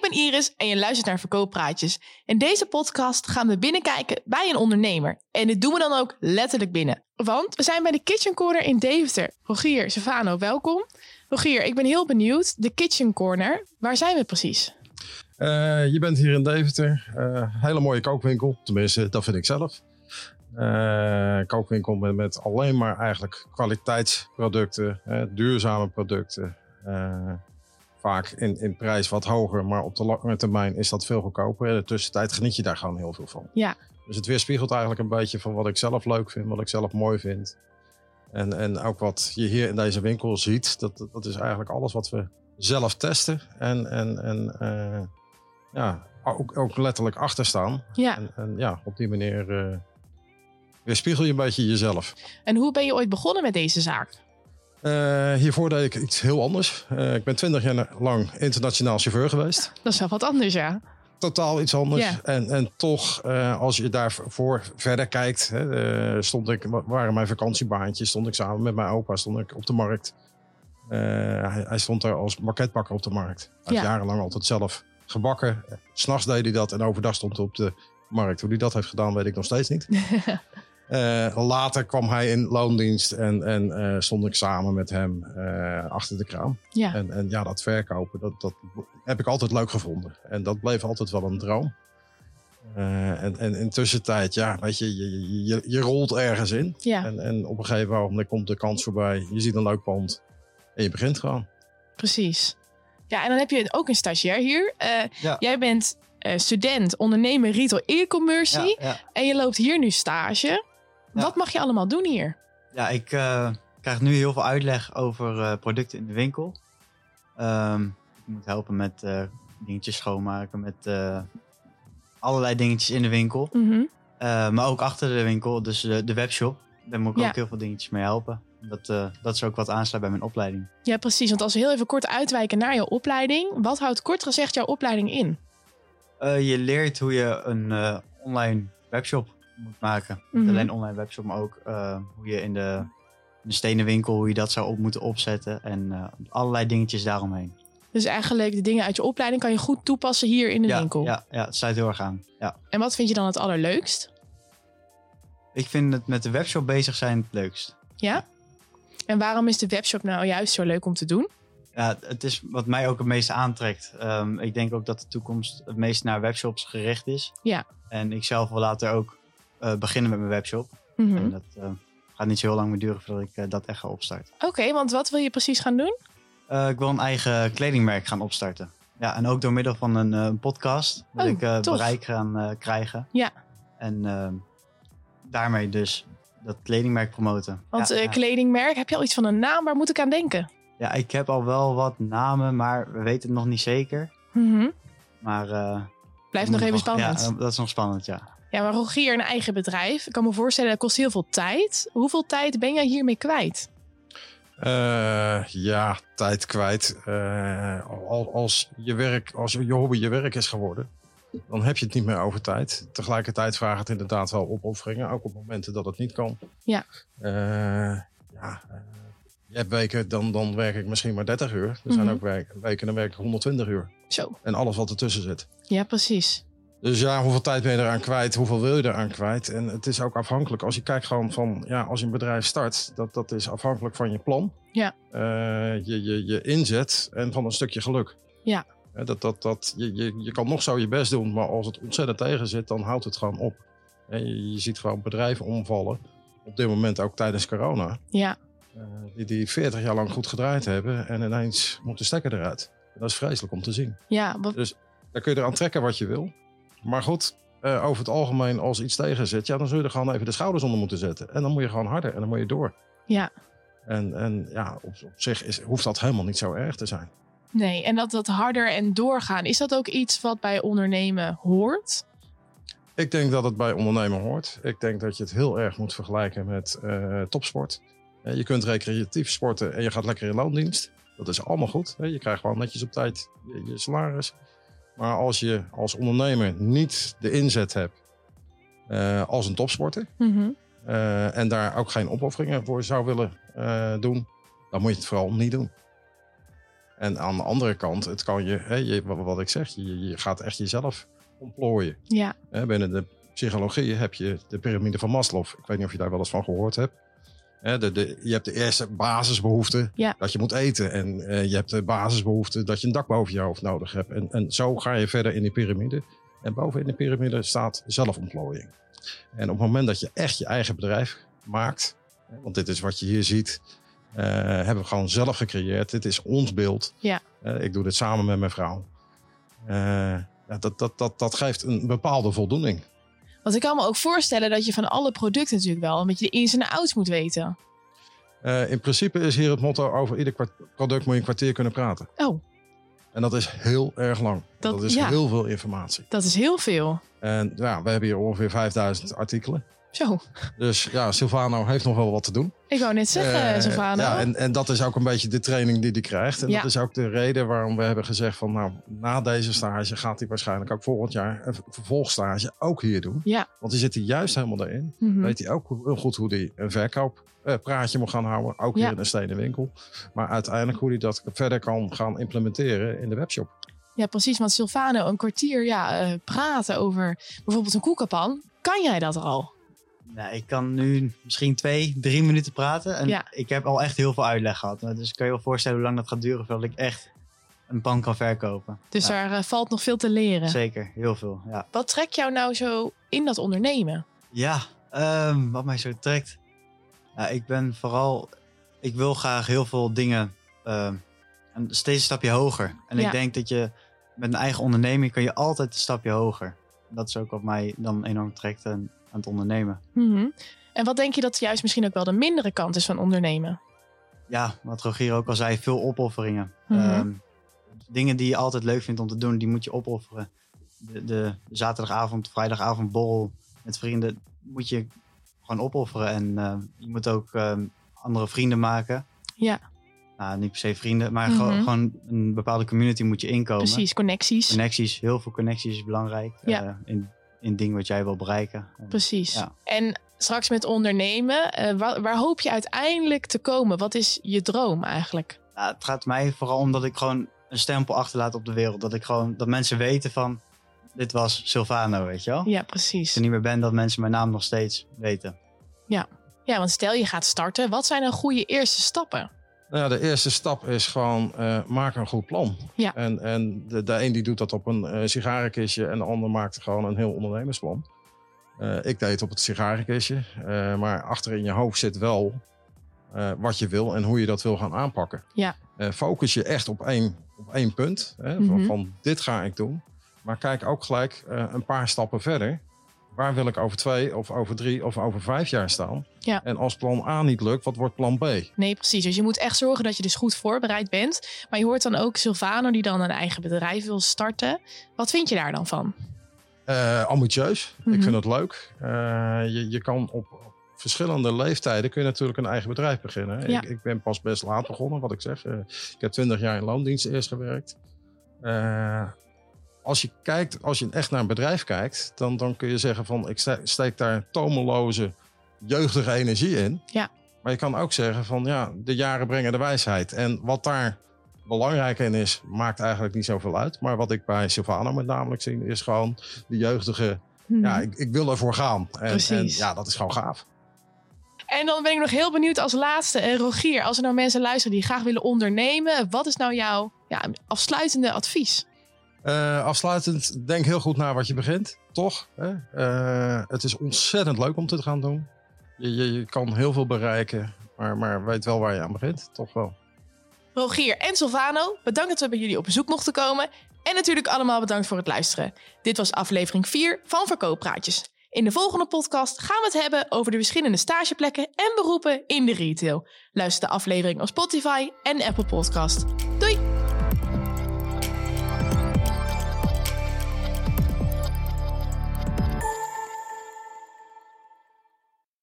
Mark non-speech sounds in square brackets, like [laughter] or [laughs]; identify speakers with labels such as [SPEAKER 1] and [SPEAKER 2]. [SPEAKER 1] ben Iris en je luistert naar Verkooppraatjes. In deze podcast gaan we binnenkijken bij een ondernemer. En dit doen we dan ook letterlijk binnen. Want we zijn bij de Kitchen Corner in Deventer. Rogier, Savano, welkom. Rogier, ik ben heel benieuwd. De Kitchen Corner, waar zijn we precies?
[SPEAKER 2] Eh, je bent hier in Deventer. Eh, hele mooie kookwinkel. Tenminste, dat vind ik zelf. Eh, kookwinkel met, met alleen maar eigenlijk kwaliteitsproducten, eh, duurzame producten. Eh, vaak in, in prijs wat hoger, maar op de lange termijn is dat veel goedkoper. In de tussentijd geniet je daar gewoon heel veel van.
[SPEAKER 1] Ja.
[SPEAKER 2] Dus het weerspiegelt eigenlijk een beetje van wat ik zelf leuk vind, wat ik zelf mooi vind. En, en ook wat je hier in deze winkel ziet, dat, dat- dat is eigenlijk alles wat we zelf testen. En, en, en eh, ja, ook, ook letterlijk achterstaan.
[SPEAKER 1] Ja.
[SPEAKER 2] En, en ja, op die manier eh weerspiegel je een beetje jezelf.
[SPEAKER 1] En hoe ben je ooit begonnen met deze zaak?
[SPEAKER 2] Eh, hiervoor deed ik iets heel anders. Eh, ik ben twintig jaar lang internationaal chauffeur geweest.
[SPEAKER 1] Dat is wel wat anders, ja.
[SPEAKER 2] totaal iets anders.
[SPEAKER 1] Ja.
[SPEAKER 2] En, en toch, eh, als je daarvoor verder kijkt, hè, eh, stond ik, wa- waren mijn vakantiebaantjes, stond ik samen met mijn opa, stond ik op de markt. Eh, hij, hij stond daar als marketbakker op de markt. Hij heeft
[SPEAKER 1] Ja.
[SPEAKER 2] jarenlang altijd zelf gebakken. Eh, S'nachts deed hij dat en overdag stond hij op de markt. Hoe hij dat heeft gedaan, weet ik nog steeds
[SPEAKER 1] [laughs]
[SPEAKER 2] niet. Eh, later kwam hij in loondienst en, en eh, stond ik samen met hem eh, achter de kraan.
[SPEAKER 1] Ja.
[SPEAKER 2] En, en ja, dat verkopen, dat, dat heb ik altijd leuk gevonden. En dat bleef altijd wel een droom. Eh, en, en intussen tijd, ja, weet je, je, je- je, je rolt ergens in.
[SPEAKER 1] Ja,
[SPEAKER 2] En, en op een gegeven moment komt de kans voorbij. Je ziet een leuk pand en je begint gewoon.
[SPEAKER 1] precies. Ja, en dan heb je ook een stagiair hier. Eh,
[SPEAKER 2] Ja.
[SPEAKER 1] Jij bent eh, student, ondernemer, retail, e-commerce.
[SPEAKER 3] ja.
[SPEAKER 1] En je loopt hier nu stage.
[SPEAKER 3] Ja.
[SPEAKER 1] Wat mag je allemaal doen hier?
[SPEAKER 3] ja ik eh, krijg nu heel veel uitleg over eh, producten in de winkel. Ehm, ik moet helpen met eh, dingetjes schoonmaken, met eh, allerlei dingetjes in de winkel.
[SPEAKER 1] Mhm.
[SPEAKER 3] Eh, maar ook achter de winkel, dus eh, de webshop. Daar moet ik
[SPEAKER 1] Ja.
[SPEAKER 3] ook heel veel dingetjes mee helpen. Dat, eh, dat is ook wat aansluit bij mijn opleiding.
[SPEAKER 1] Ja, precies. Want als we heel even kort uitwijken naar jouw opleiding. Wat houdt kort gezegd jouw opleiding in?
[SPEAKER 3] Eh, je leert hoe je een eh, online webshop moet maken.
[SPEAKER 1] Mhm.
[SPEAKER 3] Niet alleen een online webshop, maar ook eh, hoe je in de, in de stenen winkel, hoe je dat zou op moeten opzetten. En eh, allerlei dingetjes daaromheen.
[SPEAKER 1] Dus eigenlijk de dingen uit je opleiding kan je goed toepassen hier in de
[SPEAKER 3] ja,
[SPEAKER 1] winkel.
[SPEAKER 3] Ja, ja, het sluit heel erg aan. Ja.
[SPEAKER 1] En wat vind je dan het allerleukst?
[SPEAKER 3] Ik vind het met de webshop bezig zijn het leukst.
[SPEAKER 1] Ja? En waarom is de webshop nou juist zo leuk om te doen?
[SPEAKER 3] Ja, het is wat mij ook het meest aantrekt. Ehm, ik denk ook dat de toekomst het meest naar webshops gericht is.
[SPEAKER 1] Ja.
[SPEAKER 3] En ik zelf wil later ook eh, beginnen met mijn webshop.
[SPEAKER 1] Mhm.
[SPEAKER 3] En dat eh, gaat niet zo heel lang meer duren voordat ik eh, dat echt ga opstarten.
[SPEAKER 1] Oké, want wat wil je precies gaan doen?
[SPEAKER 3] Eh, ik wil een eigen kledingmerk gaan opstarten. Ja, en ook door middel van een eh, podcast wil
[SPEAKER 1] Oh,
[SPEAKER 3] ik eh,
[SPEAKER 1] tof.
[SPEAKER 3] bereik gaan eh, krijgen.
[SPEAKER 1] Ja.
[SPEAKER 3] En ehm, daarmee dus dat kledingmerk promoten.
[SPEAKER 1] Want
[SPEAKER 3] Ja,
[SPEAKER 1] eh,
[SPEAKER 3] ja.
[SPEAKER 1] kledingmerk, heb je al iets van een naam? Waar moet ik aan denken?
[SPEAKER 3] Ja, ik heb al wel wat namen, maar we weten het nog niet zeker.
[SPEAKER 1] Mhm.
[SPEAKER 3] Maar, eh,
[SPEAKER 1] Blijft
[SPEAKER 3] moet
[SPEAKER 1] nog
[SPEAKER 3] ik
[SPEAKER 1] even spannend.
[SPEAKER 3] Ja, ehm. dat is nog spannend, ja.
[SPEAKER 1] Ja, maar Rogier, een eigen bedrijf. Ik kan me voorstellen, dat kost heel veel tijd. Hoeveel tijd ben jij hiermee kwijt?
[SPEAKER 2] Eh, ja, tijd kwijt. Eh, al- als je werk, als je hobby je werk is geworden, dan heb je het niet meer over tijd. Tegelijkertijd vraagt het inderdaad wel opofferingen, ook op momenten dat het niet kan.
[SPEAKER 1] Ja.
[SPEAKER 2] Eh, ja eh, je hebt weken, dan, dan werk ik misschien maar 30 uur. Er zijn
[SPEAKER 1] Mhm.
[SPEAKER 2] ook werk- weken, dan werk ik 120 uur.
[SPEAKER 1] Zo.
[SPEAKER 2] En alles wat ertussen zit.
[SPEAKER 1] Ja, precies.
[SPEAKER 2] Dus ja, hoeveel tijd ben je eraan kwijt? Hoeveel wil je eraan kwijt? En het is ook afhankelijk. Als je kijkt gewoon van, ja, als je een bedrijf start, dat, dat is afhankelijk van je plan.
[SPEAKER 1] Ja.
[SPEAKER 2] Eh, je, je, je inzet en van een stukje geluk.
[SPEAKER 1] Ja.
[SPEAKER 2] Eh, dat, dat, dat, je, je, je kan nog zo je best doen, maar als het ontzettend tegen zit, dan houdt het gewoon op. En je, je ziet gewoon bedrijven omvallen. Op dit moment ook tijdens corona.
[SPEAKER 1] Ja,
[SPEAKER 2] Eh, die, die 40 jaar lang goed gedraaid hebben en ineens moet de stekker eruit. Dat is vreselijk om te zien.
[SPEAKER 1] ja, wat-
[SPEAKER 2] Daar kun je eraan trekken wat je wil. Maar goed, eh, over het algemeen, als iets tegen zit, ja, dan zul je er gewoon even de schouders onder moeten zetten. En dan moet je gewoon harder en dan moet je door.
[SPEAKER 1] Ja.
[SPEAKER 2] En, en ja, op, op zich is, hoeft dat helemaal niet zo erg te zijn.
[SPEAKER 1] nee. En dat, dat harder en doorgaan, is dat ook iets wat bij ondernemen hoort?
[SPEAKER 2] Ik denk dat het bij ondernemen hoort. Ik denk dat je het heel erg moet vergelijken met eh, topsport. Eh, je kunt recreatief sporten en je gaat lekker in loondienst. Dat is allemaal goed. hè. Je krijgt gewoon netjes op tijd je, je salaris. Maar als je als ondernemer niet de inzet hebt eh, als een topsporter,
[SPEAKER 1] Mhm.
[SPEAKER 2] eh, en daar ook geen opofferingen voor zou willen eh, doen, dan moet je het vooral niet doen. En aan de andere kant, het kan je, hè, je wat wat ik zeg, je, je gaat echt jezelf ontplooien.
[SPEAKER 1] Ja.
[SPEAKER 2] Hè, binnen de psychologie heb je de piramide van Maslow. Ik weet niet of je daar wel eens van gehoord hebt. Hè, de, de, je hebt de eerste basisbehoefte
[SPEAKER 1] Ja.
[SPEAKER 2] dat je moet eten. En eh, je hebt de basisbehoefte dat je een dak boven je hoofd nodig hebt. En, en zo ga je verder in die piramide. En boven in de piramide staat zelfontplooiing. En op het moment dat je echt je eigen bedrijf maakt, hè, want dit is wat je hier ziet, eh, hebben we gewoon zelf gecreëerd. Dit is ons beeld.
[SPEAKER 1] Ja.
[SPEAKER 2] Eh, ik doe dit samen met mijn vrouw. Eh, ja, dat, dat, dat, dat geeft een bepaalde voldoening.
[SPEAKER 1] Want ik kan me ook voorstellen dat je van alle producten natuurlijk wel een beetje de ins en de outs moet weten.
[SPEAKER 2] Eh, in principe is hier het motto: over ieder kwart- product moet je een kwartier kunnen praten.
[SPEAKER 1] Oh,
[SPEAKER 2] En dat is heel erg lang.
[SPEAKER 1] Dat-
[SPEAKER 2] Dat, is
[SPEAKER 1] ja.
[SPEAKER 2] heel veel informatie.
[SPEAKER 1] dat is heel veel.
[SPEAKER 2] En ja, we hebben hier ongeveer 5000 artikelen.
[SPEAKER 1] Zo,
[SPEAKER 2] Dus ja, Silvano heeft nog wel wat te doen.
[SPEAKER 1] ik wou net zeggen,
[SPEAKER 2] Eh,
[SPEAKER 1] Sylvana.
[SPEAKER 2] Ja, en, en dat is ook een beetje de training die hij krijgt. En
[SPEAKER 1] Ja.
[SPEAKER 2] dat is ook de reden waarom we hebben gezegd van... nou, na deze stage gaat hij waarschijnlijk ook volgend jaar... een vervolgstage ook hier doen.
[SPEAKER 1] Ja.
[SPEAKER 2] Want hij zit er juist helemaal daarin.
[SPEAKER 1] Mhm.
[SPEAKER 2] Weet hij ook heel goed hoe eh, hij een verkooppraatje moet gaan houden. Ook
[SPEAKER 1] Ja.
[SPEAKER 2] hier in een stenen winkel. Maar uiteindelijk hoe hij dat verder kan gaan implementeren in de webshop.
[SPEAKER 1] Ja, precies. Want Silvano, een kwartier ja, eh, praten over bijvoorbeeld een koekenpan. Kan jij dat al?
[SPEAKER 3] Nou, ik kan nu misschien twee, drie minuten praten. En
[SPEAKER 1] Ja.
[SPEAKER 3] ik heb al echt heel veel uitleg gehad. Dus ik kan je wel voorstellen hoe lang dat gaat duren voordat ik echt een pan kan verkopen.
[SPEAKER 1] Dus
[SPEAKER 3] Ja,
[SPEAKER 1] daar eh, valt nog veel te leren.
[SPEAKER 3] Zeker, heel veel. Ja,
[SPEAKER 1] Wat trekt jou nou zo in dat ondernemen?
[SPEAKER 3] ja ehm, wat mij zo trekt. Nou, ik ben vooral... Ik wil graag heel veel dingen ehm, een- steeds een stapje hoger. En
[SPEAKER 1] Ja.
[SPEAKER 3] ik denk dat je met een eigen onderneming kan je altijd een stapje hoger. Dat is ook wat mij dan enorm trekt eh, aan, aan het ondernemen.
[SPEAKER 1] Mhm. En wat denk je dat juist misschien ook wel de mindere kant is van ondernemen?
[SPEAKER 3] ja, wat Rogier ook al zei, veel opofferingen.
[SPEAKER 1] Mhm.
[SPEAKER 3] Ehm, dingen die je altijd leuk vindt om te doen, die moet je opofferen. De, de zaterdagavond, vrijdagavond borrel met vrienden moet je gewoon opofferen. En ehm, je moet ook ehm, andere vrienden maken.
[SPEAKER 1] Ja.
[SPEAKER 3] Nou, niet per se vrienden, maar
[SPEAKER 1] Mhm.
[SPEAKER 3] gewoon- gewoon een bepaalde community moet je inkomen.
[SPEAKER 1] Precies, connecties.
[SPEAKER 3] Connecties, heel veel connecties is belangrijk.
[SPEAKER 1] Ja.
[SPEAKER 3] eh, in, in dingen wat jij wil bereiken. En
[SPEAKER 1] Precies.
[SPEAKER 3] Ja.
[SPEAKER 1] En straks met ondernemen, eh, wa- waar, hoop je uiteindelijk te komen? Wat is je droom eigenlijk?
[SPEAKER 3] Nou, het gaat mij vooral om dat ik gewoon een stempel achterlaat op de wereld. Dat ik gewoon, dat mensen weten van, dit was Silvano, weet je wel?
[SPEAKER 1] Ja,
[SPEAKER 3] Als
[SPEAKER 1] precies.
[SPEAKER 3] ik er niet meer ben, dat mensen mijn naam nog steeds weten.
[SPEAKER 1] Ja, want stel je gaat starten, wat zijn dan goede eerste stappen?
[SPEAKER 2] Nou ja, de eerste stap is gewoon eh, maak een goed plan.
[SPEAKER 1] Ja.
[SPEAKER 2] En, en de, de een die doet dat op een eh, sigarenkistje en de ander maakt gewoon een heel ondernemersplan. Eh, ik deed het op het sigarenkistje, eh, maar achter in je hoofd zit wel eh, wat je wil en hoe je dat wil gaan aanpakken.
[SPEAKER 1] Ja.
[SPEAKER 2] Eh, focus je echt op één, op één punt, hè, van,
[SPEAKER 1] Mhm.
[SPEAKER 2] van dit ga ik doen. Maar kijk ook gelijk eh, een paar stappen verder. Waar wil ik over twee of over drie of over vijf jaar staan?
[SPEAKER 1] Ja.
[SPEAKER 2] En als plan A niet lukt, wat wordt plan B?
[SPEAKER 1] Nee, precies. Dus je moet echt zorgen dat je dus goed voorbereid bent. Maar je hoort dan ook Silvano die dan een eigen bedrijf wil starten. Wat vind je daar dan van?
[SPEAKER 2] eh ambitieus.
[SPEAKER 1] Mhm.
[SPEAKER 2] Ik vind het leuk. Eh, je, je kan op verschillende leeftijden kun je natuurlijk een eigen bedrijf beginnen. hè.
[SPEAKER 1] Ja.
[SPEAKER 2] Ik, ik ben pas best laat begonnen, wat ik zeg. Eh, ik heb twintig jaar in loondienst eerst gewerkt. Eh, als je kijkt, als je echt naar een bedrijf kijkt, dan, dan kun je zeggen van ik ste- steek daar tomeloze jeugdige energie in.
[SPEAKER 1] Ja.
[SPEAKER 2] Maar je kan ook zeggen van ja, de jaren brengen de wijsheid. En wat daar belangrijk in is, maakt eigenlijk niet zoveel uit. Maar wat ik bij Silvano met namelijk zie, is gewoon de jeugdige. Ja, ik, ik wil ervoor gaan. En, en
[SPEAKER 1] Mhm. Precies.
[SPEAKER 2] ja, dat is gewoon gaaf.
[SPEAKER 1] En dan ben ik nog heel benieuwd als laatste, eh, Rogier. Als er nou mensen luisteren die graag willen ondernemen, wat is nou jouw ja, afsluitende advies?
[SPEAKER 2] Eh, afsluitend, denk heel goed na wat je begint. Toch? Hè? Eh, het is ontzettend leuk om dit te gaan doen. Je, je, je kan heel veel bereiken, maar, maar weet wel waar je aan begint. Toch wel.
[SPEAKER 1] Rogier en Silvano, bedankt dat we bij jullie op bezoek mochten komen. En natuurlijk allemaal bedankt voor het luisteren. Dit was aflevering 4 van Verkooppraatjes. In de volgende podcast gaan we het hebben over de verschillende stageplekken en beroepen in de retail. Luister de aflevering op Spotify en Apple Podcast. Doei!